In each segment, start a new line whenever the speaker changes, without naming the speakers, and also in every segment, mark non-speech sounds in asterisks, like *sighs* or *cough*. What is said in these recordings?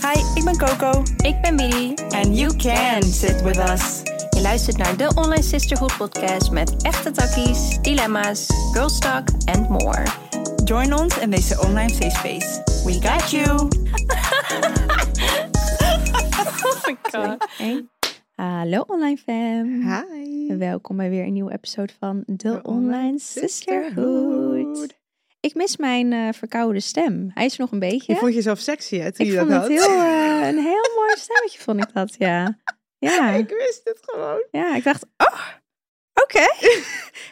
Hi, ik ben Coco.
Ik ben Miri.
And you can sit with us.
Je luistert naar de Online Sisterhood podcast met echte takkies, dilemma's, girl talk and more.
Join ons in deze online safe space. We got you.
Oh my god. Hallo online fam.
Hi.
Welkom bij weer een nieuwe episode van de, Online Sisterhood. Ik mis mijn eh, verkoude stem. Hij is nog een beetje.
Je vond jezelf sexy, hè, toen
ik
je
vond
dat
het
had?
heel, eh, een heel *laughs* mooi stemmetje, vond ik dat, ja. Ja,
*laughs* Ik wist het gewoon.
ja ik dacht, oh, oké.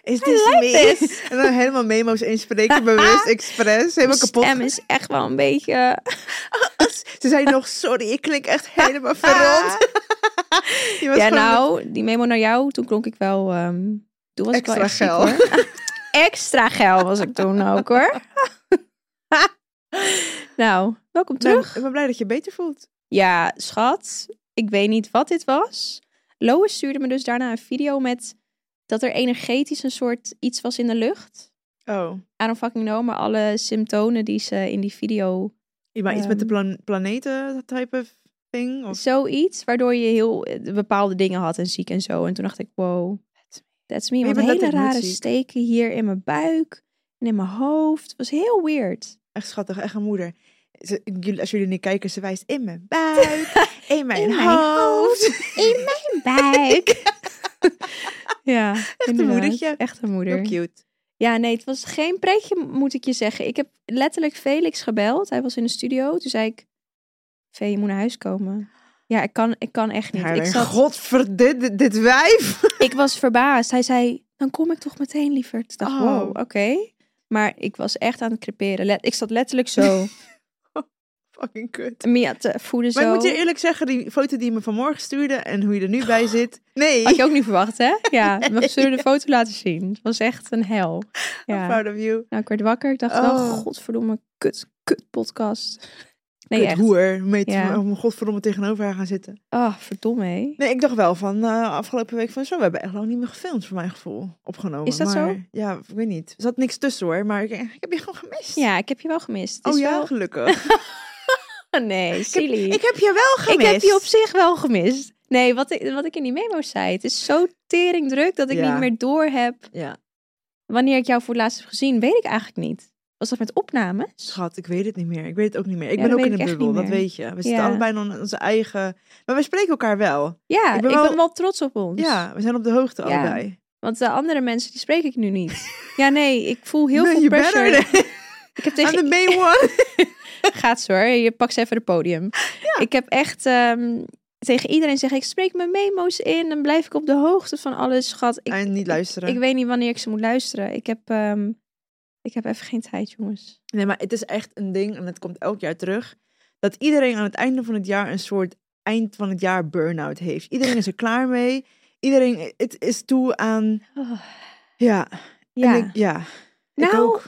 Is dit
like
me?
this.
*laughs* En dan helemaal memo's
*laughs*
inspreken, bewust, expres, helemaal
Mijn
kapot.
stem is echt wel een beetje... eh,
Ze zei nog, sorry, ik klink echt
*laughs*
helemaal verrot. Je
Ah.
was
Ja,
gewoon-
nou, die memo naar jou, toen klonk ik wel. ehm, toen was ik wel
Extra
echt ziek,
geil.
hoor. *laughs* extra geil was ik toen ook hoor. *laughs* nou, welkom
Nou,
terug.
ik ben blij dat je beter voelt.
Ja, schat, ik weet niet wat dit was. Lois stuurde me dus daarna een video met dat er energetisch een soort iets was in de lucht.
Oh.
I don't fucking know, maar alle symptomen die ze in die video
Ja, maar iets met de
Ehm.
plan planeten type of thing? Of...
Zoiets, waardoor je heel eh, bepaalde dingen had en ziek en zo. En toen dacht ik, wow, that's me.
je
Want
bent
hele
letterlijk
rare
niet ziek.
steken hier in mijn buik en in mijn hoofd. Het was heel weird.
Echt schattig, echt een moeder. Ze- jullie- als jullie niet kijken, ze wijst in mijn
*laughs*
buik, in mijn
mijn
hoofd.
In mijn buik. *laughs* ja, echt
moedertje.
Echt een
Heel
moeder.
cute.
Ja, nee, het was geen pretje, moet ik je zeggen. Ik heb letterlijk Felix gebeld. Hij was in de studio. Toen zei ik, Vee, je moet naar huis komen. Ja, ik kan, ik kan echt niet.
Haar
ik
weer,
zat
Godverd- dit, dit wijf. *laughs*
Ik was verbaasd. Hij zei, dan kom ik toch meteen liever. Ik dacht,
Oh.
wow, oké. Maar ik was echt aan het creperen. Let- ik zat letterlijk
*laughs*
zo
Fucking kut.
Mia te voeden. Zo. Oh.
Maar ik moet je eerlijk zeggen, die foto die je me vanmorgen stuurde en hoe je er nu bij zit. Nee,
Had
I'm
je ook niet verwacht, hè?
*laughs*
Ja, we zullen de foto laten zien. Het was echt een hel. Ja.
proud of you.
Nou, ik werd wakker. Ik dacht wel,
Oh.
godverdomme, kut, kut podcast. Nee,
Kut
echt.
hoer, meet
Ja.
om godverdomme tegenover haar gaan zitten.
Ah, verdomme, hé.
Nee, ik dacht wel van eh, afgelopen week van zo, we hebben echt lang niet meer gefilmd voor mijn gevoel. Opgenomen.
Is dat
maar,
zo?
Ja, ik weet niet. Er zat niks tussen hoor, maar ik, eh, ik heb je gewoon gemist.
Ja, ik heb je wel gemist. Het
Oh
is
ja,
wel- *laughs*
gelukkig.
Nee,
ik, heb,
silly.
ik heb je wel
Ik
gemist.
heb je op zich wel gemist. Nee, wat ik, wat ik in die memo zei. Het is zo teringdruk dat ik
Ja.
niet meer door heb.
Ja.
Wanneer ik jou voor het laatst heb gezien, weet ik eigenlijk niet. Was dat met opnames?
Schat, ik weet het niet meer. Ik weet het ook niet meer. Ik
Ja,
ben
dat
ook
weet
in
ik
een
echt
bubbel,
niet
dat
meer.
weet je. We zitten
Ja.
allebei in onze eigen... Maar we spreken elkaar wel.
Ja, ik ben, wel... trots op ons.
Ja, we zijn op de hoogte
Ja.
allebei.
Want de andere mensen, die spreek ik nu
*laughs*
niet. ja, nee, ik voel heel
Nee,
veel
*laughs* you
pressure.
better.
Ik heb
*laughs* I'm
tegen...
the
*laughs*
main one.
Gaat zo hoor, je pakt ze even het podium. Ik heb echt... ehm, tegen iedereen zeg ik, spreek mijn memo's in. Dan blijf ik op de hoogte van alles, schat. Ik,
en niet luisteren.
ik weet niet wanneer ik ze moet luisteren. Ik heb, ehm, ik heb even geen tijd, jongens.
Nee, maar het is echt een ding en het komt elk jaar terug. Dat iedereen aan het einde van het jaar een soort eind van het jaar burn-out heeft. Iedereen is er klaar mee. Iedereen, het is toe aan, ja. Oh, En
Ja.
ik- ja. ik
nou, ik,
ook.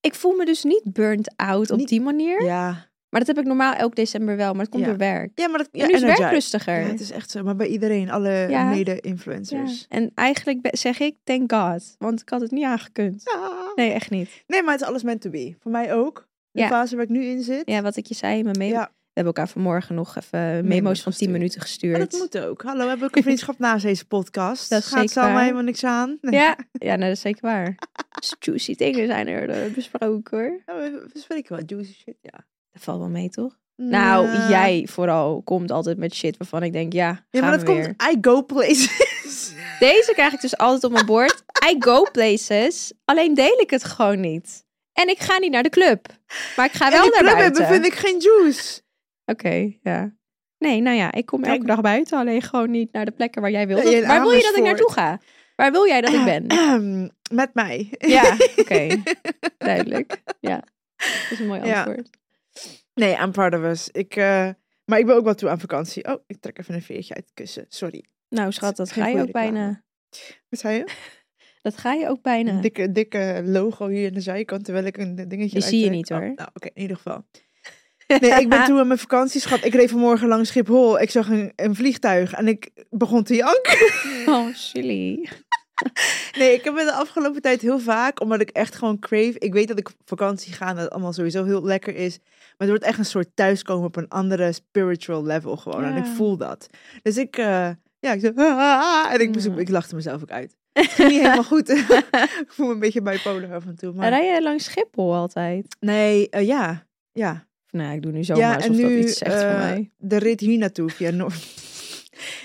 voel me dus niet burnt out op
Niet-
die manier.
Ja.
Maar dat heb ik normaal elk december wel, maar het komt
Ja.
door werk.
Ja, maar dat, ja,
en nu is werk
energize.
rustiger.
Ja, het dus. is echt zo. Maar bij iedereen, alle
Ja. Ja.
mede-influencers.
En eigenlijk be- zeg ik, thank God. Want ik had het niet aangekund.
Ah.
Nee, echt niet.
Nee, maar het is alles meant to be. Voor mij ook. De
Ja.
fase waar ik nu in zit.
Ja, wat ik je zei, mijn memo.
Ja.
We hebben elkaar vanmorgen nog even memo's
Memo's
van 10
gestuurd.
minuten
Maar
gestuurd.
dat moet ook. Hallo, we
*laughs*
hebben ook een vriendschap naast deze podcast.
Dat is
Gaat
zeker
Salma
waar.
helemaal niks aan. Nee.
Ja, ja nou, dat is zeker waar. Dus Juicy dingen zijn er eh, besproken hoor.
Ja, Oh, we, we spreken wel juicy shit, ja.
Dat valt wel mee, toch? Nou,
Nee.
jij vooral komt altijd met shit waarvan ik denk, ja, gaan
Eh, Ja, maar dat
we weer.
komt... I go
*laughs*
places.
Deze krijg ik dus altijd op mijn bord. I go places. Alleen deel ik het gewoon niet. En ik ga niet naar de club. Maar ik ga wel
en die
naar
club
buiten.
hebben vind ik geen juice.
Oké, ja. Nee, nou ja, ik kom
Kijk.
elke dag buiten. Alleen gewoon niet naar de plekken waar jij wil.
Ja,
dat-
in
waar wil je dat ik
Amersfoort.
naartoe ga? Waar wil jij dat ik
*laughs* *clears throat*
ben?
Ahem, Ehm, Met mij. *laughs*
Ja, oké. Duidelijk. Ja, dat is een mooi
Ja.
antwoord.
Nee, I'm proud of us. Ik, eh, maar ik ben ook wel toe aan vakantie. Oh, ik trek even een veertje uit het kussen. Sorry.
Nou schat, dat
Geen
ga je
goede
ook
reclame.
bijna.
Wat zei je?
Dat ga je ook bijna.
Een dikke, dikke logo hier aan de zijkant, terwijl ik een dingetje
Die zie je
uittrek.
niet, hoor.
Oh, nou, oké, in ieder geval. Nee, ik ben toe aan
*laughs*
mijn vakantie, schat. Ik reed vanmorgen langs Schiphol. Ik zag een, een vliegtuig en ik begon te janken.
Oh, silly.
Nee, ik heb het de afgelopen tijd heel vaak, omdat ik echt gewoon crave. Ik weet dat ik op vakantie ga en dat het allemaal sowieso heel lekker is. Maar het wordt echt een soort thuiskomen op een andere spiritual level gewoon. En ik
Ja.
voel dat. Dus ik, eh, ja, ik zo, "Ah," en ik, moest,
Ja.
ik lachte mezelf ook uit. Het ging niet helemaal
*laughs*
goed. *laughs* ik voel me een beetje bipolar af en toe. Maar...
Rij je langs Schiphol altijd?
Nee, eh, ja. Ja.
Nou, ik doe nu zomaar
ja,
alsof dat iets zegt voor
eh,
mij.
de rit hier naartoe via Noord.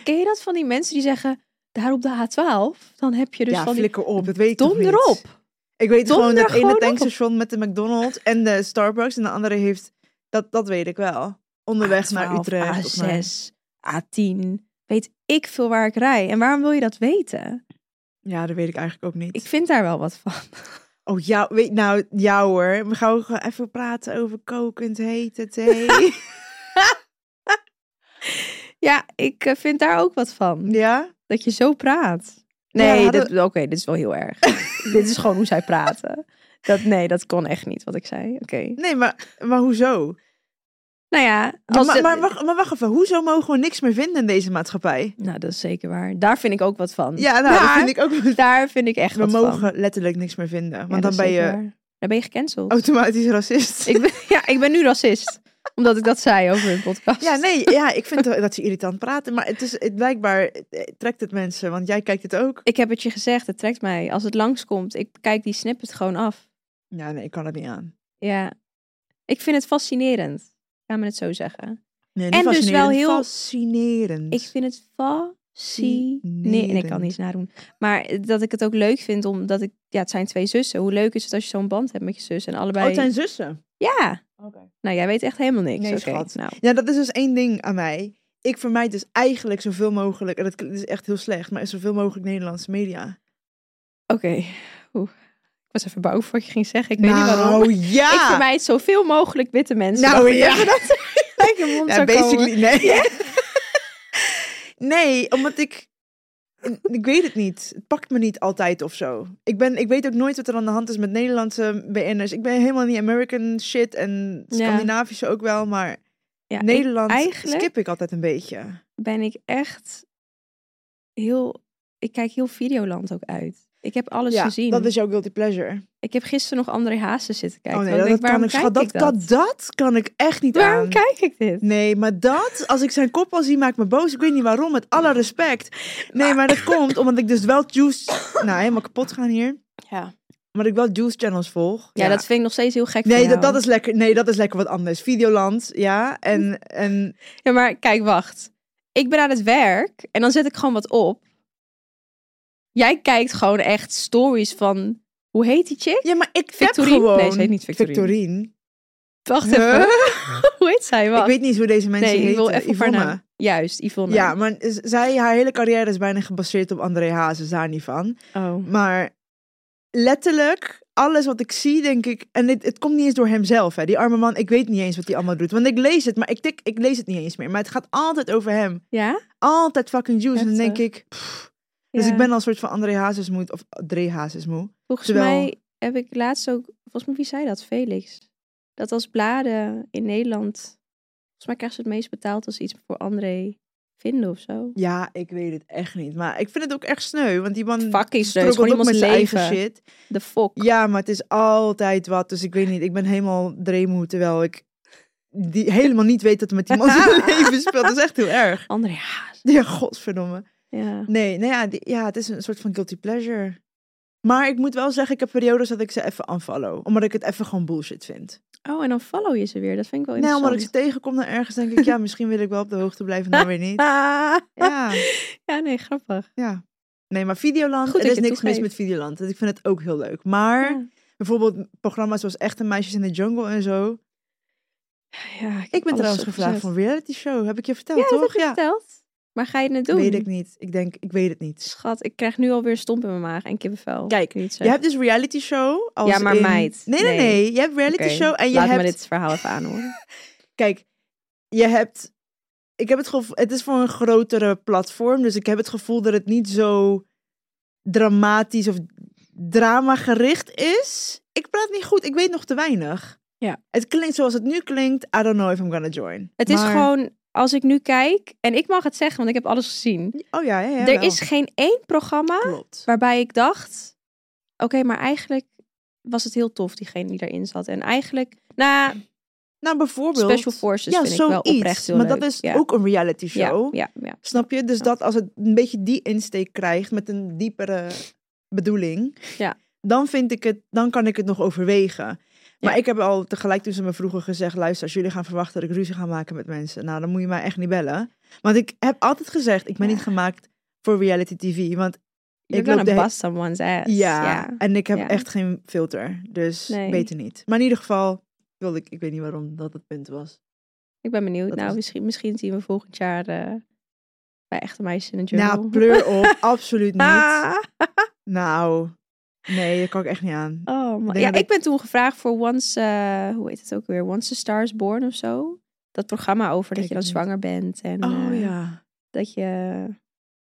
Ken je dat van die mensen die zeggen, daar op de H12, dan heb je dus
ja,
van die...
flikker op. Dat weet ik toch
Donder
niet.
op!
Ik weet
Donder
gewoon dat
gewoon
ene
op.
tankstation met de McDonald's en de Starbucks en de andere heeft... Dat, dat weet ik wel. Onderweg naar
A12,
Utrecht. of naar-
A6, A10. Weet ik veel waar ik rij. En waarom wil je dat weten?
Ja, dat weet ik eigenlijk ook niet.
Ik vind daar wel wat van. *laughs*
Oh, jou, weet, nou, jou hoor. We gaan gewoon even praten over kokend
*laughs*
hete thee.
Ja, ik eh, vind daar ook wat van.
ja?
Dat je zo praat. Nee,
hadden
dit- oké, dit is wel heel erg. *laughs* dit is gewoon hoe zij praten. Dat, nee, dat kon echt niet wat ik zei. Oké.
Nee, maar, maar hoezo?
Nou ja,
Ja,
als
maar,
het-
maar, wacht, maar wacht even. Hoezo mogen we niks meer vinden in deze maatschappij?
Nou, dat is zeker waar. Daar vind ik ook wat van.
Ja, nou, dat
Maar
vind ik ook...
Dus Daar vind ik echt
We
wat
mogen
van.
letterlijk niks meer vinden. Want
Ja, dat
dan
is
ben je Oh,
zeker waar. Dan ben je gecanceld.
automatisch
*laughs*
racist.
Ik ben, ja, ik ben nu racist. omdat ik dat zei over hun podcast.
Ja, nee, ja, ik vind dat ze irritant praten. Maar het is, het, blijkbaar eh, trekt het mensen, want jij kijkt het ook.
Ik heb het je gezegd, het trekt mij. Als het langskomt, ik kijk die snippet gewoon af.
Ja, nee, ik kan het niet aan.
Ja. Ik vind het fascinerend. Gaan we het zo zeggen.
Nee,
En dus wel
fascinerend,
heel-
Fascinerend.
Ik vind het fascinerend. Nee, ik kan niets nadoen. Maar dat ik het ook leuk vind, omdat ik... Ja, het zijn twee zussen. Hoe leuk is het als je zo'n band hebt met je zus en allebei...
Oh, het zijn zussen.
Ja.
Oké.
Nou, jij weet echt helemaal niks.
Nee,
Oké,
schat.
Nou.
Ja, dat is dus één ding aan mij. Ik vermijd dus eigenlijk zoveel mogelijk, en dat klinkt- dit is echt heel slecht, maar zoveel mogelijk Nederlandse media.
Oké. Oeh. Ik was even bang voor wat je ging zeggen. Ik weet niet waarom.
Nou, ja!
Ik vermijd Oh, zoveel mogelijk witte mensen.
Nou,
Dacht ik
ja.
even Dat uit je mond
Ja,
zou komen.
basically, nee. *laughs* nee, omdat ik... Ik weet het niet. Het pakt me niet altijd of zo. Ik, ben, ik weet ook nooit wat er aan de hand is met Nederlandse BN'ers. Ik ben helemaal niet American shit en
Ja.
Scandinavische ook wel, maar
Ja, ik-
Nederland
eigenlijk-
skip ik altijd een beetje.
ben ik echt heel. Ik kijk heel Videoland ook uit. Ik heb alles
ja,
gezien.
dat is jouw guilty pleasure.
Ik heb gisteren nog André Haasen zitten kijken.
oh nee,
Want
dat,
ik denk,
kan
waarom
ik,
kijk
schat, dat,
ik dat?
kan, dat kan ik echt niet
Waarom
aan.
kijk ik dit?
Nee, maar dat, als ik zijn kop al zie, maakt me boos. Ik weet niet waarom, met alle respect. Nee, maar
*laughs*
dat komt omdat ik dus wel juice... Nou, helemaal kapot gaan hier.
Ja.
Omdat ik wel juice channels volg.
Ja, dat vind ik nog steeds heel gek.
Nee,
van
dat,
jou.
dat is lekker, nee, dat is lekker wat anders. Videoland, ja. En, en
Ja, maar kijk, wacht. Ik ben aan het werk en dan zet ik gewoon wat op. Jij kijkt gewoon echt stories van. Hoe heet die chick?
ja, maar ik
Victorine?
heb gewoon...
Nee, ze heet niet Victorine.
Victorine.
Wacht
Huh? *laughs*
even. Hoe heet zij? Wacht.
Ik weet niet hoe deze mensen
nee, ik
heten.
wil even op haar
Yvonne.
naam. Juist, Yvonne. Oh.
Ja, maar z- zij, haar hele carrière is bijna gebaseerd op André Hazes, daar niet van.
Oh.
Maar letterlijk, alles wat ik zie, denk ik... En het, het komt niet eens door hemzelf, hè. Die arme man, ik weet niet eens wat hij allemaal doet. Want ik lees het, maar ik, tik, ik lees het niet eens meer. Maar het gaat altijd over hem.
Ja?
Altijd fucking juice. En dan denk
Heftig.
ik... pff. Dus
Ja.
ik ben al een soort van André Hazes moed, of André Hazes moe.
Volgens
Terwijl-
mij heb ik laatst ook, volgens mij wie zei dat? Felix. Dat als bladen in Nederland, volgens mij krijgen ze het meest betaald als ze iets voor André vinden of zo.
Ja, ik weet het echt niet. Maar ik vind het ook echt sneu. Want die man
Fuck is
struggelt
het gewoon
ook
iemands
met zijn eigen
leven.
shit.
De fok.
Ja, maar het is altijd wat. Dus ik weet niet. Ik ben helemaal dreemoe. Terwijl ik die helemaal niet weet dat er
*laughs*
met die man zijn leven speelt. Dat is echt heel erg.
André Haas.
Ja, godverdomme.
Ja.
Nee, nou ja, die- ja, het is een soort van guilty pleasure. Maar ik moet wel zeggen, ik heb periodes dat ik ze even unfollow. Omdat ik het even gewoon bullshit vind.
Oh, en dan follow je ze weer. Dat vind ik wel
Nee,
interessant.
omdat ik ze tegenkom dan ergens denk ik... Ja, misschien wil ik wel op de hoogte blijven, dan weer
*laughs*
niet.
Ah.
Ja.
Ja, nee, grappig.
Ja. Nee, maar Videoland,
Goed dat
er is
je het
niks mis
toegeeft.
met Videoland. Ik vind het ook heel leuk. Maar
Ja.
bijvoorbeeld programma's zoals Echte Meisjes in de Jungle en zo.
Ja, ik,
Ik ben trouwens gevraagd
gevraagd
voor een reality show. Heb ik je verteld,
Ja, dat heb
toch?
je verteld. Maar ga je het doen?
weet ik niet. Ik denk, ik weet het niet.
Schat, ik krijg nu alweer stomp in mijn maag en kippenvel.
Kijk,
niet
Je hebt dus reality show. Als
Ja, maar
in-
meid,
Nee, nee,
nee.
nee, Je hebt reality show en je
Laat
hebt...
me dit verhaal even aanhoren.
Kijk, je hebt... Ik heb het gevoel... Het is voor een grotere platform. Dus ik heb het gevoel dat het niet zo dramatisch of drama gericht is. Ik praat niet goed. Ik weet nog te weinig.
Ja.
Het klinkt zoals het nu klinkt. I don't know if I'm gonna join.
*laughs* Het is
Maar-
gewoon als ik nu kijk, en ik mag het zeggen, want ik heb alles gezien.
Oh ja, ja, ja
er
wel.
is geen één programma
Klopt.
waarbij ik dacht: oké, maar eigenlijk was het heel tof, diegene die daarin zat. En eigenlijk, na
Nou, bijvoorbeeld...
Special Forces vind ik wel oprecht heel
maar
leuk.
dat is
Ja.
ook een reality
Ja,
show.
Ja, ja.
Snap je? Dus
Ja.
dat als het een beetje die insteek krijgt met een diepere bedoeling,
Ja.
dan vind ik het, dan kan ik het nog overwegen. Maar
Ja.
ik heb al tegelijk toen ze me vroeger gezegd, luister, als jullie gaan verwachten dat ik ruzie ga maken met mensen, nou dan moet je mij echt niet bellen. Want ik heb altijd gezegd, ik ben
Ja.
niet gemaakt voor reality tv. Want
You're
ik loop
gonna
de he-
bust someone's ass.
ja, en ik heb
Ja.
echt geen filter. Dus
Nee.
beter niet. Maar in ieder geval wilde ik, ik weet niet waarom dat het punt was.
Ik ben benieuwd.
Dat
nou,
was-
misschien, misschien zien we volgend jaar eh, bij Echte Meisjes in de Jungle.
Nou, pleur op,
*laughs*
absoluut niet.
Ah!
Nou, nee, daar kan ik echt niet aan.
Oh, man.
denk
Ja,
dat
ik ben toen gevraagd voor Once, eh, hoe heet het ook weer? Once a Star is Born of zo. Dat programma over dat
Kijk
je dan
het niet.
zwanger bent en
Oh
eh,
ja.
dat je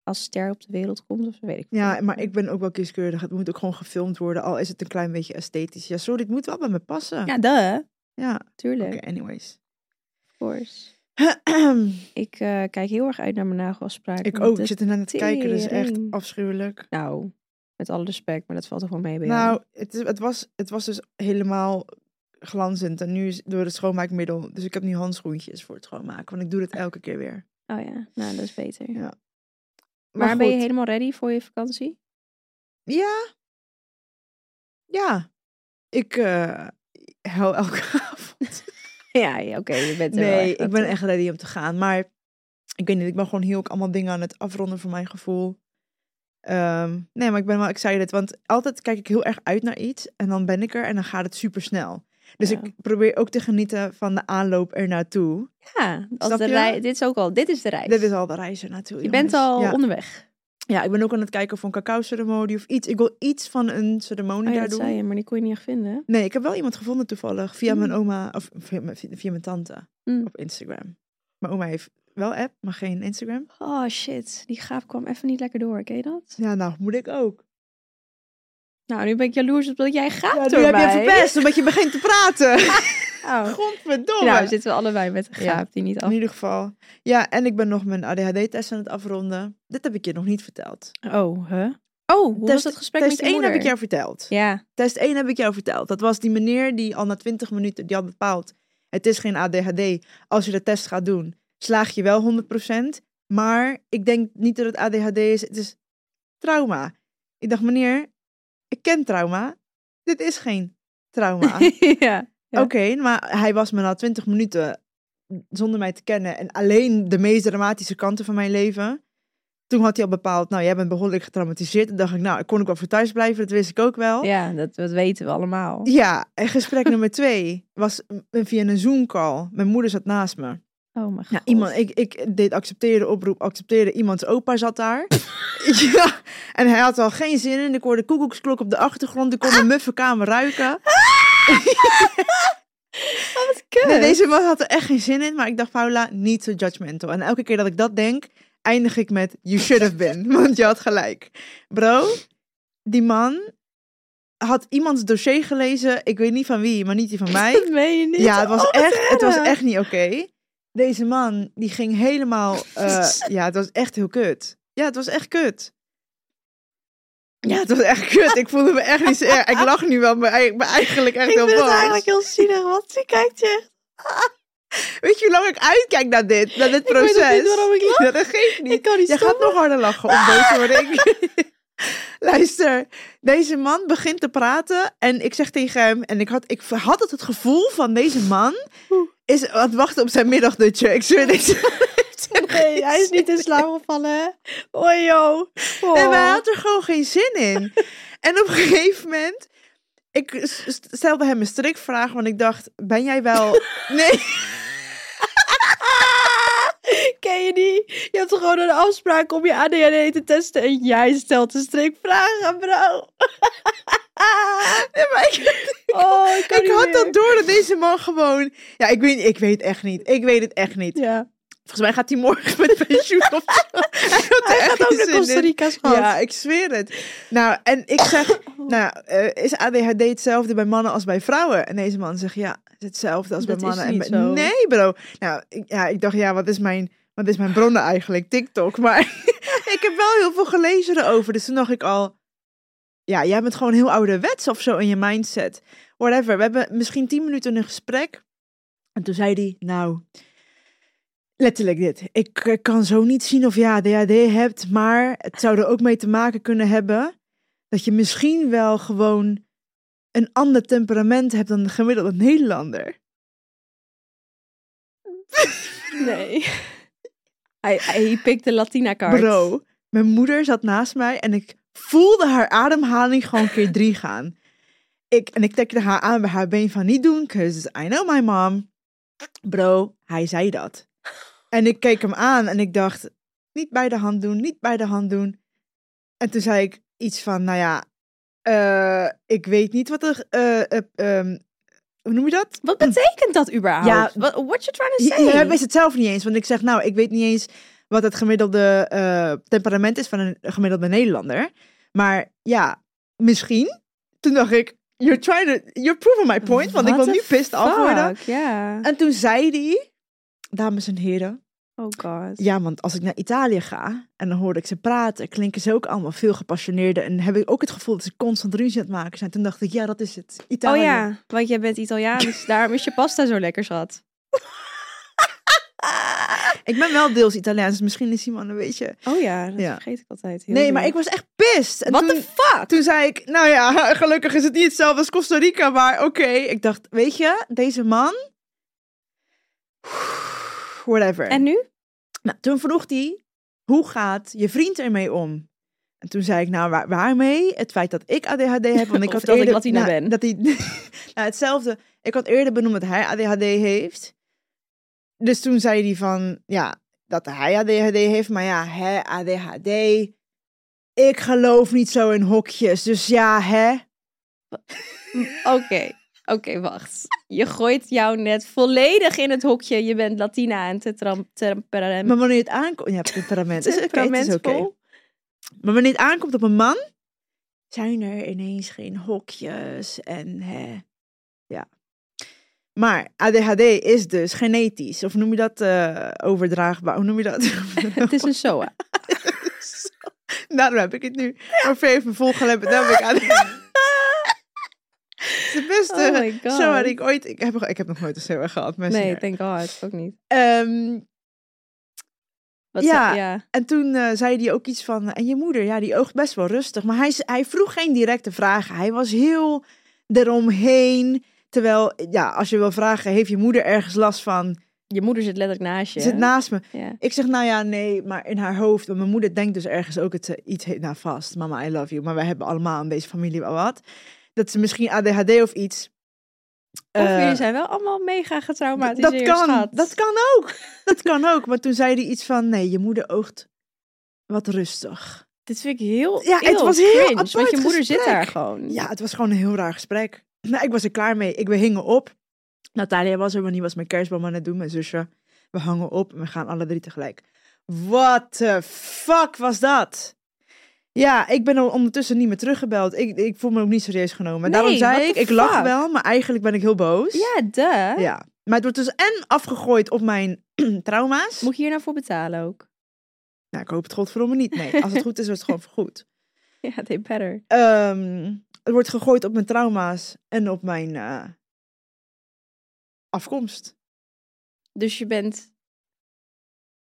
als ster op de wereld komt of zo, weet ik
Ja,
veel.
maar ik ben ook wel kieskeurig. Het moet ook gewoon gefilmd worden, al is het een klein beetje esthetisch. Ja, sorry, dit moet wel bij me passen. Ja,
Ja, duh.
oké,
Tuurlijk,
anyways.
of course. Ik eh, kijk heel erg uit naar mijn nagelafspraak.
ik
want
ook, ik
het-
zit ernaar aan het kijken, dat is echt
tering.
afschuwelijk.
Nou, met alle respect, maar dat valt toch wel mee bij jou?
Nou, het, is, het, was, het was dus helemaal glanzend en nu is door het schoonmaakmiddel. Dus ik heb nu handschoentjes voor het schoonmaken, want ik doe het elke keer weer.
Oh ja, nou dat is beter.
Ja.
Maar, ben je
goed,
helemaal ready voor je vakantie?
Ja. Ja. Ik eh huil elke *laughs* avond.
Ja, ja, oké, je bent er wel
Nee,
echt aan
ik ben
toe.
echt ready om te gaan. Maar ik weet niet, ik ben gewoon heel ook allemaal dingen aan het afronden voor mijn gevoel. Ehm, nee, maar ik ben wel excited. Want altijd kijk ik heel erg uit naar iets en dan ben ik er en dan gaat het super snel. Dus
Ja.
ik probeer ook te genieten van de aanloop ernaartoe.
Ja, als
Snap
de
je?
rij, dit is ook al, dit is de reis.
Dit is al de reis ernaartoe.
je bent
jongens.
al
Ja.
onderweg.
ja, ik ben ook aan het kijken voor een cacao-ceremonie of iets. Ik wil iets van een ceremonie
Oh ja,
daar
dat
doen.
zei je, maar die kon je niet echt vinden. hè?
Nee, ik heb wel iemand gevonden toevallig via
Mm.
mijn oma of via, mijn- via mijn tante
Mm.
op Instagram. Mijn oma heeft wel app, maar geen Instagram.
Oh shit, die gaaf kwam even niet lekker door, ken je dat?
Ja, nou moet ik ook.
Nou, nu ben ik jaloers op dat jij gaat
Ja,
door
nu heb je
mij.
verpest, omdat je begint te
*laughs*
praten.
Oh.
Godverdomme.
Nou, zitten we allebei met een
Ja.
gaaf die niet
In
af...
ieder geval. Ja, en ik ben nog mijn ADHD-test aan het afronden. Dit heb ik je nog niet verteld.
Oh, hè? Oh, hoe was
Test-
dat gesprek
Test
met je
1
moeder?
heb ik jou verteld.
Ja,
Test 1 heb ik jou verteld. Dat was die meneer die al na 20 minuten die had bepaald. Het is geen ADHD. Als je de test gaat doen, slaag je wel 100%. Maar ik denk niet dat het ADHD is. Het is trauma. Ik dacht, meneer, ik ken trauma. Dit is geen
*laughs*
trauma.
*laughs* ja. Ja.
Oké, maar hij was me na 20 minuten zonder mij te kennen en alleen de meest dramatische kanten van mijn leven. Toen had hij al bepaald, nou, jij bent behoorlijk getraumatiseerd. Toen dacht ik, nou, ik kon ik wel voor thuis blijven, dat wist ik ook wel.
ja dat, dat weten we allemaal.
Ja, en gesprek *laughs* nummer twee was m- via een Zoom-call. Mijn moeder zat naast me.
Oh mijn god.
Nou, iemand, ik, ik deed accepteren, oproep, accepteren. Iemands opa zat daar. *laughs* ja, en hij had al geen zin in. Ik hoorde koekoeksklok op de achtergrond. Ik kon
Ah!
mijn muffenkamer ruiken. Nee, deze man had er echt geen zin in. Maar ik dacht, Paula, niet zo judgmental. En elke keer dat ik dat denk, eindig ik met... You should have been, *laughs* want je had gelijk. Bro, die man had iemands dossier gelezen. Ik weet niet van wie, maar *laughs* niet die van mij.
Dat meen je niet.
Ja, het was,
Oh, wat
echt, het was
erg.
echt niet oké. Deze man, die ging helemaal... *laughs* eh, ja, het was echt heel kut. Ja, het was echt kut. Ja, het was echt kut. Ik voelde me echt niet... zo- ja, Ik lach nu wel, maar ei- maar eigenlijk echt heel boos.
heel zielig, want ze kijkt je echt.
Weet je hoe lang ik uitkijk naar dit? Naar dit
Ik weet ook
proces?
niet waarom *laughs* ik lach.
Ja, dat geeft niet.
Ik kan niet
Je gaat nog harder lachen om deze word ik. *laughs* Luister, deze man begint te praten en ik zeg tegen hem... en ik had, ik had het, het gevoel van deze man
Oeh. Oh.
is aan het wachten op zijn middagdutje. Ik zweer deze heeft er geen zin
in slaap gevallen. *laughs* Oei, joh.
en wij had er gewoon geen zin
*laughs*
in. en op een gegeven moment, ik s- s- stelde hem een strikvraag, want ik dacht, ben jij
*laughs*
wel... nee,
Ken je die? Je hebt toch gewoon een afspraak om je ADHD E te testen en jij stelt een strikvragen, bro.
nee, maar ik,
Oh, *laughs* ik, kan
ik
niet
had
meer.
dat door dat deze man gewoon... Ja, ik weet, ik weet echt niet. Ik weet het echt niet.
Ja.
Volgens mij gaat hij morgen met pensioen of
*laughs*
zo. Hij
Gaat ook naar Costa Rica's gehad.
Ja, ik zweer het. Nou, en ik zeg,
Oh.
nou, eh, is ADHD hetzelfde bij mannen als bij vrouwen? En deze man zegt, ja, het is hetzelfde als
Dat
bij
is
mannen. en
niet
bij-
zo.
Nee, bro. Nou, ik, ja, ik dacht, ja, wat is mijn, wat is mijn bronnen eigenlijk? TikTok. Maar *laughs* ik heb wel heel veel gelezen erover. Dus toen dacht ik al, ja, jij bent gewoon heel ouderwets of zo in je mindset. Whatever. We hebben misschien tien minuten een gesprek. En toen zei hij, nou, letterlijk dit. Ik eh, kan zo niet zien of je ADHD hebt, maar het zou er ook mee te maken kunnen hebben dat je misschien wel gewoon een ander temperament hebt dan de gemiddelde Nederlander.
Nee. *laughs* Hij, hij pikt de Latina kaart.
Bro, mijn moeder zat naast mij en ik voelde haar ademhaling gewoon keer drie gaan. Ik, en ik tekende haar aan bij haar been van niet doen, cause I know my mom. Bro, hij zei dat. En ik keek hem aan en ik dacht, niet bij de hand doen, niet bij de hand doen. En toen zei ik iets van, nou ja, eh, ik weet niet wat er, eh, eh, ehm, hoe noem je dat?
Wat betekent dat überhaupt?
Ja.
What, what you trying to
Ja,
say?
ja, hij wist het zelf niet eens. Want ik zeg, nou, ik weet niet eens wat het gemiddelde eh, temperament is van een gemiddelde Nederlander. Maar ja, misschien. Toen dacht ik, you're trying to, you're proving my point. Want ik
What
wil nu
the
pissed af worden. Eh,
Fuck, ja.
En toen zei hij, dames en heren.
Oh god.
Ja, want als ik naar Italië ga en dan hoorde ik ze praten, klinken ze ook allemaal veel gepassioneerder. En heb ik ook het gevoel dat ze constant ruzie aan het maken zijn. Toen dacht ik, ja, dat is het.
Oh
Italië.
ja, want jij bent Italiaans, dus daarom is je pasta zo lekker zat.
Ik ben wel deels Italiaans, dus misschien is iemand een beetje...
Oh ja, dat
Ja.
vergeet ik altijd. Heel
Nee, maar
dom.
ik was echt pissed. En
What the
toen-
fuck?
Toen zei ik, nou ja, *laughs* gelukkig is het niet hetzelfde als Costa Rica, maar oké. Ik dacht, weet je, deze man... *sighs* Whatever.
En nu?
Nou, toen vroeg hij, hoe gaat je vriend ermee om? En toen zei ik, nou, waar, waarmee? Het feit dat ik ADHD heb, want ik
Of
had
dat ik
eerder...
Latina
nou,
ben.
Dat hij, *laughs* nou, hetzelfde. Ik had eerder benoemd dat hij ADHD heeft. Dus toen zei hij van, ja, dat hij ADHD heeft, maar ja, hè, ADHD... Ik geloof niet zo in hokjes, dus ja, hè?
Oké, oké, wacht. Je gooit jou net volledig in het hokje. Je bent Latina en te tram, temperament.
Maar wanneer het aankomt... Ja,
*laughs*
temperament. is oké, het is oké.
temperamentvol.
Maar wanneer het aankomt op een man, zijn er ineens geen hokjes en hè. Ja. Maar ADHD is dus genetisch, of noem je dat eh, overdraagbaar? Hoe noem je
*laughs*
dat?
Het is een SOA.
Daarom Nou, heb ik het nu. Maar Vee heeft me volgelemd, daarom heb ik ADHD. *laughs*
*laughs*
Het is de
Oh
beste
my god.
SOA die ik ooit... Ik heb, ik heb nog nooit een SOA gehad, mensen.
Nee, thank god. Ook niet.
Ehm,
Wat
Ja.
zei- ja.
En toen eh, zei hij ook iets van, en je moeder, ja, die oogt best wel rustig. Maar hij, hij vroeg geen directe vragen. Hij was heel eromheen. Terwijl, ja, als je wil vragen, heeft je moeder ergens last van?
Je moeder zit letterlijk naast je.
Zit naast me.
Ja.
Ik zeg, nou ja, nee, maar in haar hoofd. Want mijn moeder denkt dus ergens ook het, eh, iets he- nou vast. Mama, I love you. Maar wij hebben allemaal in deze familie wel wat. Dat ze misschien ADHD of iets.
Of
eh,
jullie zijn wel allemaal mega
D-
getraumatiseerd,
Dat kan,
schat.
dat kan ook. Dat kan ook. Maar toen zei hij iets van, nee, je moeder oogt wat rustig.
Dit vind ik heel
Ja, het
heel
was heel
cringe,
apart
Want je moeder zit
gesprek.
daar gewoon.
Ja, het was gewoon een heel raar gesprek. *clears throat* Nou, ik was er klaar mee. Ik, we hingen op. Natalia was er, maar die was mijn kerstboom aan het doen, mijn zusje. We hangen op en we gaan alle drie tegelijk. What the fuck was dat? Ja, ik ben al ondertussen niet meer teruggebeld. Ik, ik voel me ook niet serieus genomen.
Nee,
Daarom
what
zei
the
ik, ik lach
fuck?
wel, maar eigenlijk ben ik heel boos.
Ja, duh.
Ja. Maar het wordt dus en afgegooid op mijn *clears throat* trauma's.
Moet je hier nou voor betalen ook?
Nou, ik hoop het godverdomme niet. Nee, als het goed is, wordt het gewoon vergoed.
Ja, they better.
Ehm, het wordt gegooid op mijn trauma's en op mijn eh, afkomst.
Dus je bent...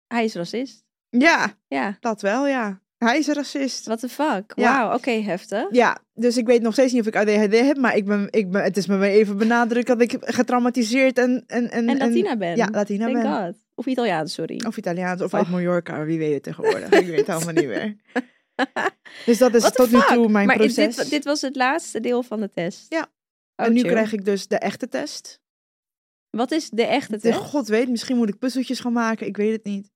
Hij is racist.
Ja,
Ja,
dat wel, ja. Hij is een racist.
what the fuck.
Ja.
Wauw, oké, heftig.
Ja, dus ik weet nog steeds niet of ik ADHD heb, maar ik ben, ik ben, het is me weer even benadrukt dat ik getraumatiseerd en... En, en,
En Latina ben.
Ja, Latina
Thank
ben.
god. Of Italiaans, sorry.
Of Italiaans, of
Oh.
uit Mallorca, wie weet het tegenwoordig. ik
*laughs*
weet het allemaal niet meer. Dus dat is
What the
tot nu
fuck?
toe mijn
maar is
proces.
Dit, dit was het laatste deel van de test.
Ja.
Oh,
en nu
chill.
krijg ik dus de echte test.
Wat is de echte
De
test?
God weet, misschien moet ik puzzeltjes gaan maken, ik weet het niet.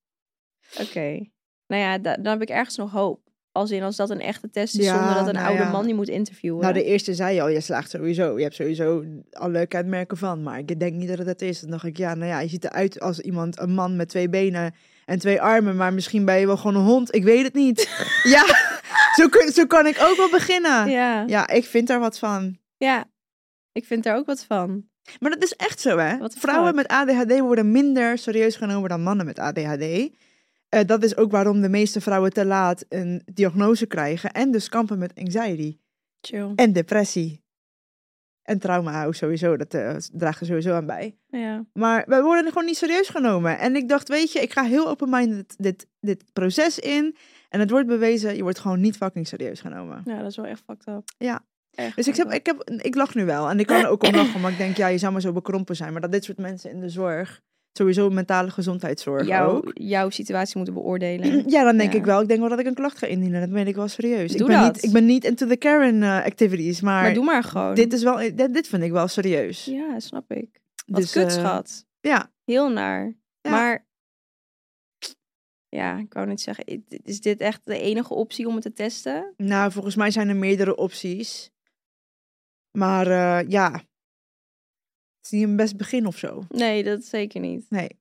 Oké. Nou ja, da- dan heb ik ergens nog hoop. Als in als dat een echte test is
Ja,
zonder dat een
nou
oude
ja.
man die moet interviewen.
Nou, de eerste zei al, je slaagt sowieso. Je hebt sowieso alle kenmerken van. Maar ik denk niet dat het dat is. Dan dacht ik, ja, nou ja, je ziet eruit als iemand, een man met twee benen en twee armen. Maar misschien ben je wel gewoon een hond. Ik weet het niet. ja, zo, kun, zo kan ik ook wel beginnen. Ja.
ja. ja,
ik vind daar wat van.
Ik vind daar ook wat van.
Maar dat is echt zo, hè?
What the
Vrouwen
fuck?
met ADHD worden minder serieus genomen dan mannen met ADHD. Eh, dat is ook waarom de meeste vrouwen te laat een diagnose krijgen. En dus kampen met anxiety.
Chill.
En depressie. En trauma ook sowieso, dat eh draagt er sowieso aan bij.
Ja.
Maar wij worden gewoon niet serieus genomen. En ik dacht, weet je, ik ga heel open-minded dit, dit proces in. En het wordt bewezen, je wordt gewoon niet fucking serieus genomen.
ja, Nou, dat is wel echt fucked up.
Ja.
Echt
Dus ik,
fucked
heb, ik, heb, ik lach nu wel. En ik kan er
*clears throat*
ook om lachen, maar ik denk, ja, je zou maar zo bekrompen zijn. Maar dat dit soort mensen in de zorg, sowieso mentale
up.
gezondheidszorg
jouw,
ook. *clears throat*
jouw situatie moeten beoordelen.
Ja, dan denk
Ja.
ik wel. Ik denk wel dat ik een klacht ga indienen. Dat meen ik wel serieus.
Doe
ik, ben
dat.
Niet, ik ben niet into the Karen eh, activities, maar,
maar doe maar gewoon.
dit, is wel, dit, dit vind ik wel serieus.
Ja, snap ik. Wat
Dus,
kut,
eh,
schat.
ja.
Heel naar.
Ja.
Maar ja, ik wou niet zeggen, i- is dit echt de enige optie om het te testen?
Nou, volgens mij zijn er meerdere opties. Maar eh, ja, het is niet een best begin of zo.
Nee, dat zeker niet.
Nee.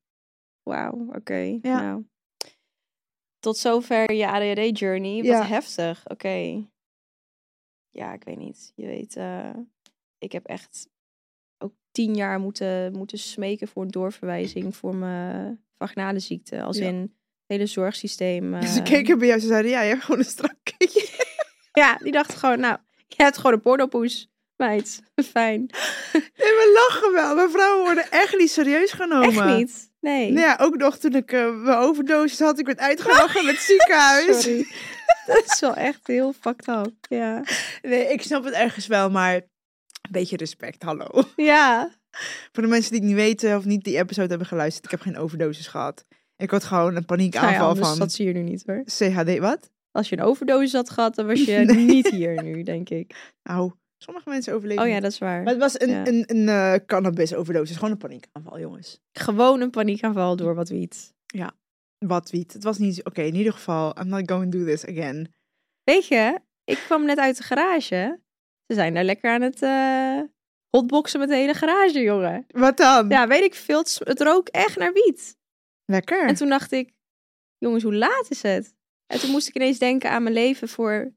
Wauw, oké.
Ja.
Nou. Tot zover je ADHD-journey. Wat
Ja.
heftig. Oké. Ja, ik weet niet. Je weet, eh, ik heb echt ook tien jaar moeten, moeten smeken voor een doorverwijzing voor mijn vaginale ziekte. Als
Ja.
in het hele
*laughs*
zorgsysteem.
Ze
eh,
keken bij jou, ze zeiden, ja, je hebt gewoon een strak keeltje.
Ja, die dacht gewoon, nou, je hebt gewoon een pornopoes, meid. *laughs* Fijn.
*laughs* Nee, we lachen wel. Mijn vrouwen worden echt niet serieus genomen.
Echt niet? Nee.
Nou ja, ook nog toen ik eh, mijn overdosis had, ik werd uitgelachen *laughs* met het ziekenhuis.
Sorry. *laughs* Dat is wel echt heel fucked up. Ja.
Nee, ik snap het ergens wel, maar een beetje respect, hallo. *laughs*
Ja.
Voor de mensen die het niet weten of niet die episode hebben geluisterd, ik heb geen overdosis gehad. Ik had gewoon een
Nou ja,
paniekaanval
anders
van
zat ze hier nu niet hoor.
CHD, wat?
Als je een overdosis had gehad, dan was je
*laughs* Nee.
niet hier nu, denk ik.
Nou, sommige mensen overleven
Oh ja,
niet.
dat is waar.
Maar het was een,
Ja.
een, een eh, cannabis-overdosis. Gewoon een paniekaanval, jongens.
Gewoon een paniekaanval door wat wiet.
Wat wiet. Het was niet... Oké, in ieder geval, I'm not going to do this again.
Weet je, ik kwam net uit de garage. Ze zijn daar lekker aan het eh, hotboxen met de hele garage, jongen.
Wat dan?
Ja, weet ik veel. Het, sm- het rook echt naar wiet.
Lekker.
En toen dacht ik, jongens, hoe laat is het? En toen moest ik ineens denken aan mijn leven voor,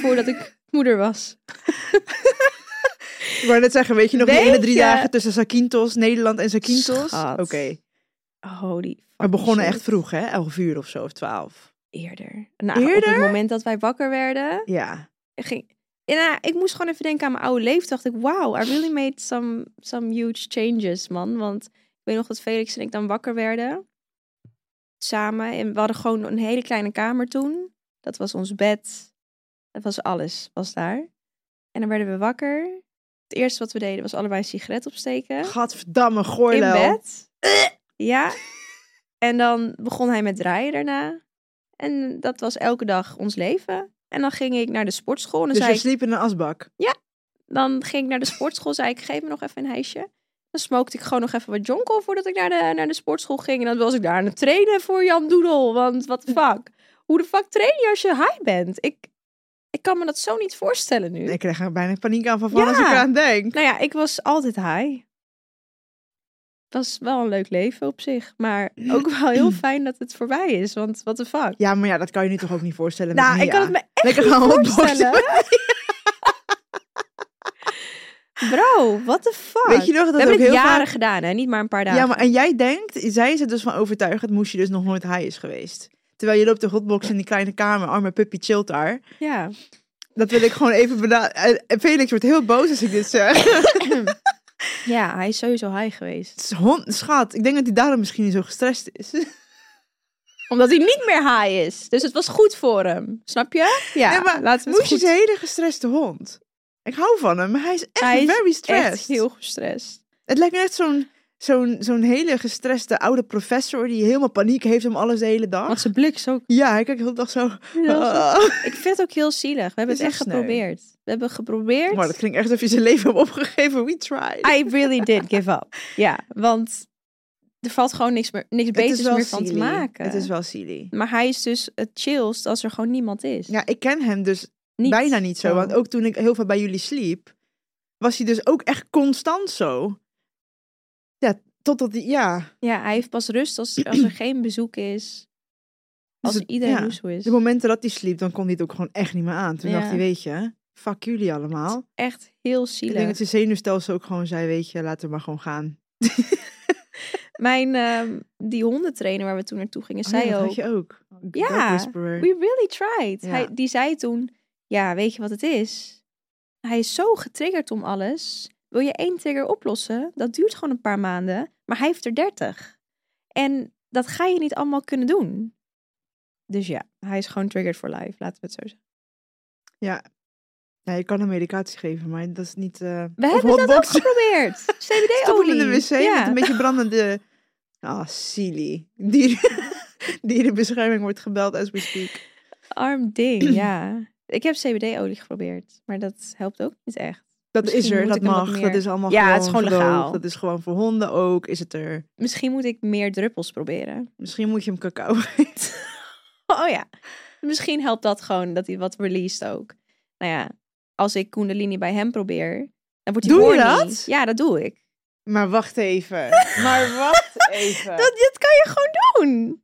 voordat
*laughs*
ik moeder was.
Ik wou net zeggen, weet je nog die
Weet
ene drie
je?
dagen tussen Sakintos, Nederland en Sakintos?
Schat.
Oké.
Holy
We
fucking
begonnen
shit.
echt vroeg, hè? Elf uur of zo, of twaalf.
Eerder. Nou, op
Eerder?
het moment dat wij wakker werden,
Ja.
ging... En, nou, ik moest gewoon even denken aan mijn oude leven. Dacht ik, wow, I really made some, some huge changes, man. Want ik weet nog dat Felix en ik dan wakker werden. Samen. En we hadden gewoon een hele kleine kamer toen. Dat was ons bed. Dat was alles, was daar. En dan werden we wakker. Het eerste wat we deden was allebei een sigaret opsteken.
Gadverdamme,
In
goorlel.
bed. Ja. En dan begon hij met draaien daarna. En dat was elke dag ons leven. En dan ging ik naar de sportschool. En dan,
Dus
zei
je
ik,
sliep in een asbak.
dan ging ik naar de sportschool. zei ik, geef me nog even een hijsje. Dan smokte ik gewoon nog even wat jonkel voordat ik naar de, naar de sportschool ging. En dan was ik daar aan het trainen voor Jan Doedel. Want wat de fuck? Hoe de fuck train je als je high bent? Ik, ik kan me dat zo niet voorstellen nu.
Ik kreeg er bijna paniekaanval van
Ja.
als ik eraan denk.
Nou ja, ik was altijd high. Het was wel een leuk leven op zich. Maar ook wel
*clears throat*
heel fijn dat het voorbij is. Want what the fuck.
Ja, maar ja, dat kan je nu toch ook niet voorstellen met
nou, ik
Mia?
kan
*laughs*
het me echt
Lekker
niet
gaan hotboxen.
voorstellen. *laughs* Bro, what the fuck.
*laughs* Weet je nog dat
We
het ook
hebben
heel
dit jaren
vaak...
gedaan, hè? Niet maar een paar dagen.
Ja, maar en jij denkt, zij is er dus van overtuigd dat Moesje dus nog nooit high is geweest. Terwijl je loopt de hotbox in die kleine kamer, arme puppy chillt daar.
Ja.
Dat wil ik gewoon even benadrukken. Felix wordt heel boos als ik dit zeg.
ja, hij is sowieso high geweest.
Het is hond- Schat, ik denk dat hij daarom misschien niet zo gestrest is.
Omdat hij niet meer high is. Dus het was goed voor hem. Snap je? Ja,
Nee, maar
laten we het
Moesje
goed
is een hele gestreste hond. Ik hou van hem, maar hij is echt
Hij is
very stressed.
Echt heel gestrest.
Het lijkt me echt zo'n zo'n zo'n hele gestreste oude professor die helemaal paniek heeft om alles de hele dag.
Want zijn blik zo... Oh.
Ja, hij kijkt de hele dag zo... "Ah."
Ik vind het ook heel zielig. We hebben
is
het echt
echt sneu.
geprobeerd. We hebben geprobeerd.
Maar dat klinkt echt alsof je zijn leven hebt opgegeven. We tried.
I really did give up. Ja, want er valt gewoon niks, meer, niks
Het
beters
is wel
meer van te
silly.
maken.
Het is wel silly.
Maar hij is dus het chillst als er gewoon niemand is.
Ja, ik ken hem dus
Niet
bijna niet zo. Want ook toen ik heel veel bij jullie sliep, was hij dus ook echt constant zo. Ja, totdat hij, ja.
Ja, hij heeft pas rust als, als er geen bezoek is. Als
het-
iedereen
ja,
loesoe is.
De momenten dat hij sliep, dan kon hij het ook gewoon echt niet meer aan. Toen
Ja.
dacht hij, weet je, fuck jullie allemaal.
Echt heel
Ik
zielig.
denk dat zijn zenuwstelsel ook gewoon zei, weet je, laten we maar gewoon gaan.
Mijn, ehm, die hondentrainer waar we toen naartoe gingen,
Oh ja,
zei
dat
ook...
had je ook. Dog
Ja,
Whisperer.
We really tried.
Ja.
Hij, die zei toen, ja, weet je wat het is? Hij is zo getriggerd om alles. Wil je één trigger oplossen? Dat duurt gewoon een paar maanden. Maar hij heeft er dertig. En dat ga je niet allemaal kunnen doen. Dus ja, hij is gewoon triggered for life. Laten we het zo zeggen.
Ja, je kan hem medicatie geven, maar dat is niet... eh
We
of
hebben dat ook
hotboxen.
geprobeerd.
*laughs* Stop hem
CBD-olie.
in de wc met
Ja.
een beetje brandende... *laughs* Ah, silly. *laughs* Dieren... Dierenbescherming wordt gebeld as we speak.
Arm *clears throat* ding, ja. Ik heb CBD-olie geprobeerd. Maar dat helpt ook niet echt.
Dat
Misschien
is er,
moet
dat
ik hem wat
mag,
meer-
dat is allemaal
Ja,
gewoon
het is gewoon
gedoogd,
legaal.
Dat is gewoon voor honden ook, is het er.
Misschien moet ik meer druppels proberen. *laughs*
Misschien moet je hem cacao *laughs* geven.
Oh ja. Misschien helpt dat gewoon dat hij wat released ook. Nou ja, als ik Kundalini bij hem probeer, dan wordt hij
Doe je
horny.
dat?
Ja, dat doe ik.
Maar wacht *laughs* even. Maar wacht even.
Dat, dat kan je gewoon doen.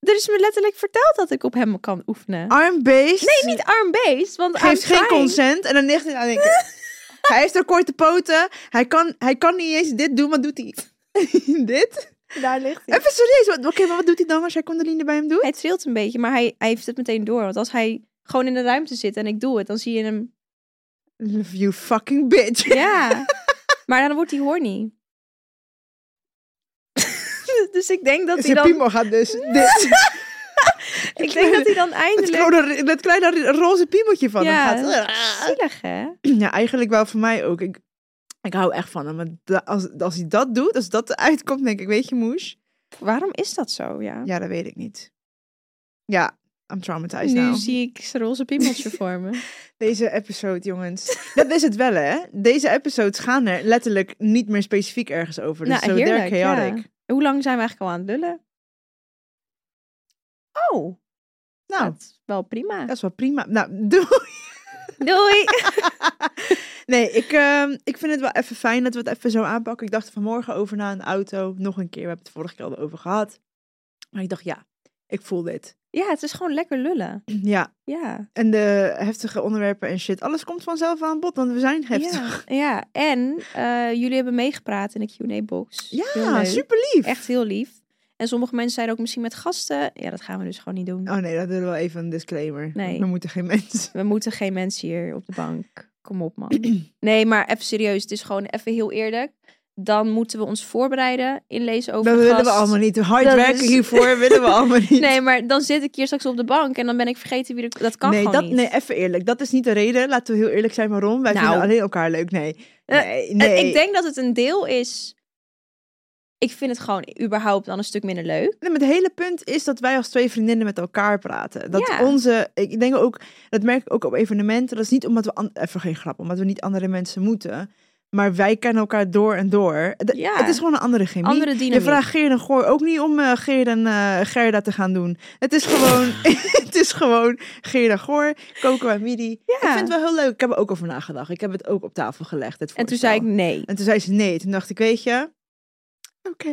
Er is me letterlijk verteld dat ik op hem kan oefenen.
Armbeest.
Nee, niet armbeest, want
geeft
I'm
geen
trying.
consent. En dan ligt hij aan denken. *laughs* hij heeft er korte poten. Hij kan, hij kan niet eens dit doen. Wat doet hij? *laughs* dit?
Daar ligt hij.
Even serieus. wat- Oké, maar wat doet hij dan als jij Condoline bij hem doet?
Hij trilt een beetje, maar hij, hij heeft het meteen door. Want als hij gewoon in de ruimte zit en ik doe het, dan zie je hem.
Love you fucking bitch.
Ja. maar dan wordt hij horny. *laughs* dus ik denk dat hij
Zijn
dan.
piemel
*laughs*
gaat dus dit.
Ik denk dat hij dan
*laughs* Het
eindelijk.
kleine, dat kleine roze piemeltje van hem
Ja,
gaat. Ah. eh,
zielig hè?
*clears throat* Ja, eigenlijk wel voor mij ook. Ik, ik hou echt van hem. Maar da- als, als hij dat doet, als dat eruit komt, denk ik, weet je moes?
Waarom is dat zo? Ja.
Ja, dat weet ik niet. Ja, I'm traumatized
nu
now.
zie ik zijn roze piemeltje voor
*laughs* Oh,
me.
Deze episode, jongens. *laughs* Dat is het wel, hè? Deze episodes gaan er letterlijk niet meer specifiek ergens over. Dus
Nou,
zo der
heerlijk, ja.
chaotic.
Hoe lang zijn we eigenlijk al aan het lullen? Oh,
Nou,
dat is wel prima.
dat is wel prima. Nou, doe.
*laughs* Doei.
Nee, ik, ehm, ik vind het wel even fijn dat we het even zo aanpakken. Ik dacht er vanmorgen over na een auto. Nog een keer, we hebben het vorige keer al over gehad. Maar ik dacht, ja, ik voel dit. *clears throat*
Ja, het is gewoon lekker lullen.
Ja,
Ja.
en de heftige onderwerpen en shit. Alles komt vanzelf aan bod, want we zijn heftig.
Ja, ja. en eh, jullie hebben meegepraat in de Q&A-box.
Ja,
Heel leuk.
super lief.
Echt heel lief. En sommige mensen zeiden ook misschien met gasten. Ja, dat gaan we dus gewoon niet doen.
Oh nee, dat doen we wel even een disclaimer.
Nee.
We moeten geen mensen.
We moeten geen mensen hier op de bank. Kom op,
*clears throat*
man. Nee, maar even serieus. Het is gewoon even heel eerlijk. Dan moeten we ons voorbereiden, inlezen over
Dat
de
willen we
gast.
allemaal niet. Hard
Dat
werken
is- *laughs*
hiervoor willen we allemaal niet.
Nee, maar dan zit ik hier straks op de bank en dan ben ik vergeten wie er... Dat kan
nee,
gewoon
dat,
niet.
nee, even eerlijk. Dat is niet de reden. Laten we heel eerlijk zijn waarom. Wij
Nou.
vinden alleen elkaar leuk. Nee.
Eh,
Nee,
En
nee.
Ik denk dat het een deel is... Ik vind het gewoon überhaupt dan een stuk minder leuk.
Nee, maar het hele punt is dat wij als twee vriendinnen met elkaar praten. Dat
Ja.
onze, ik denk ook, dat merk ik ook op evenementen. Dat is niet omdat we, an- even geen grap, omdat we niet andere mensen moeten. Maar wij kennen elkaar door en door. De-
Ja.
Het is gewoon een andere chemie.
Andere dynamiek.
Je vraagt Geer en Goor ook niet om eh Geer en eh, Gerda te gaan doen. Het is gewoon,
*laughs*
*laughs* het is gewoon Geer en Goor, Coco en Midi.
Ja.
Ik vind het wel heel leuk. Ik heb er ook over nagedacht. Ik heb het ook op tafel gelegd. het
En toen
voorstel.
zei ik
*laughs*
nee.
En toen zei ze nee. Toen dacht ik, weet je... Oké.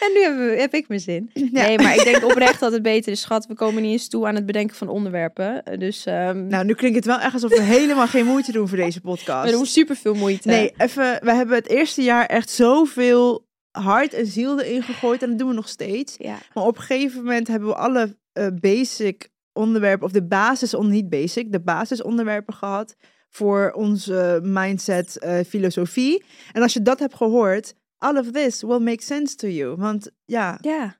En nu hebben we- heb ik mijn zin.
Ja.
Nee, maar ik
*laughs*
denk oprecht dat het beter is. Schat, we komen niet eens toe aan het bedenken van onderwerpen. Eh, Dus ehm
Nou, nu klinkt het wel echt alsof we helemaal geen moeite doen voor deze
we doen
podcast.
super veel moeite.
Nee, even. We hebben het eerste jaar echt zoveel hart en ziel erin gegooid. En dat doen we nog steeds.
Ja.
Maar op een gegeven moment hebben we alle eh, basic onderwerpen, of de basis, on, niet basic, de basisonderwerpen gehad voor onze mindset, eh, filosofie. En als je dat hebt gehoord, all of this will make sense to you. Want ja,
Ja.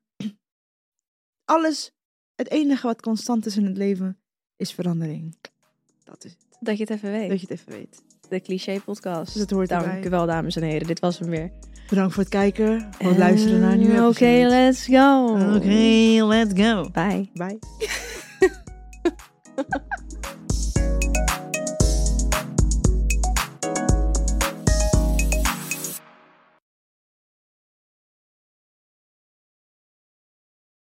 alles, het enige wat constant is in het leven, is verandering. Dat is het.
Dat je het even weet.
Dat je het even weet.
De cliché podcast.
Dus dat hoort
Dank
erbij.
u wel, dames en heren. Dit was hem weer.
Bedankt voor het kijken.
Eh,
Voor het luisteren naar een nieuwe
Oké,
episode.
let's go.
Oké, let's go.
Bye.
Bye.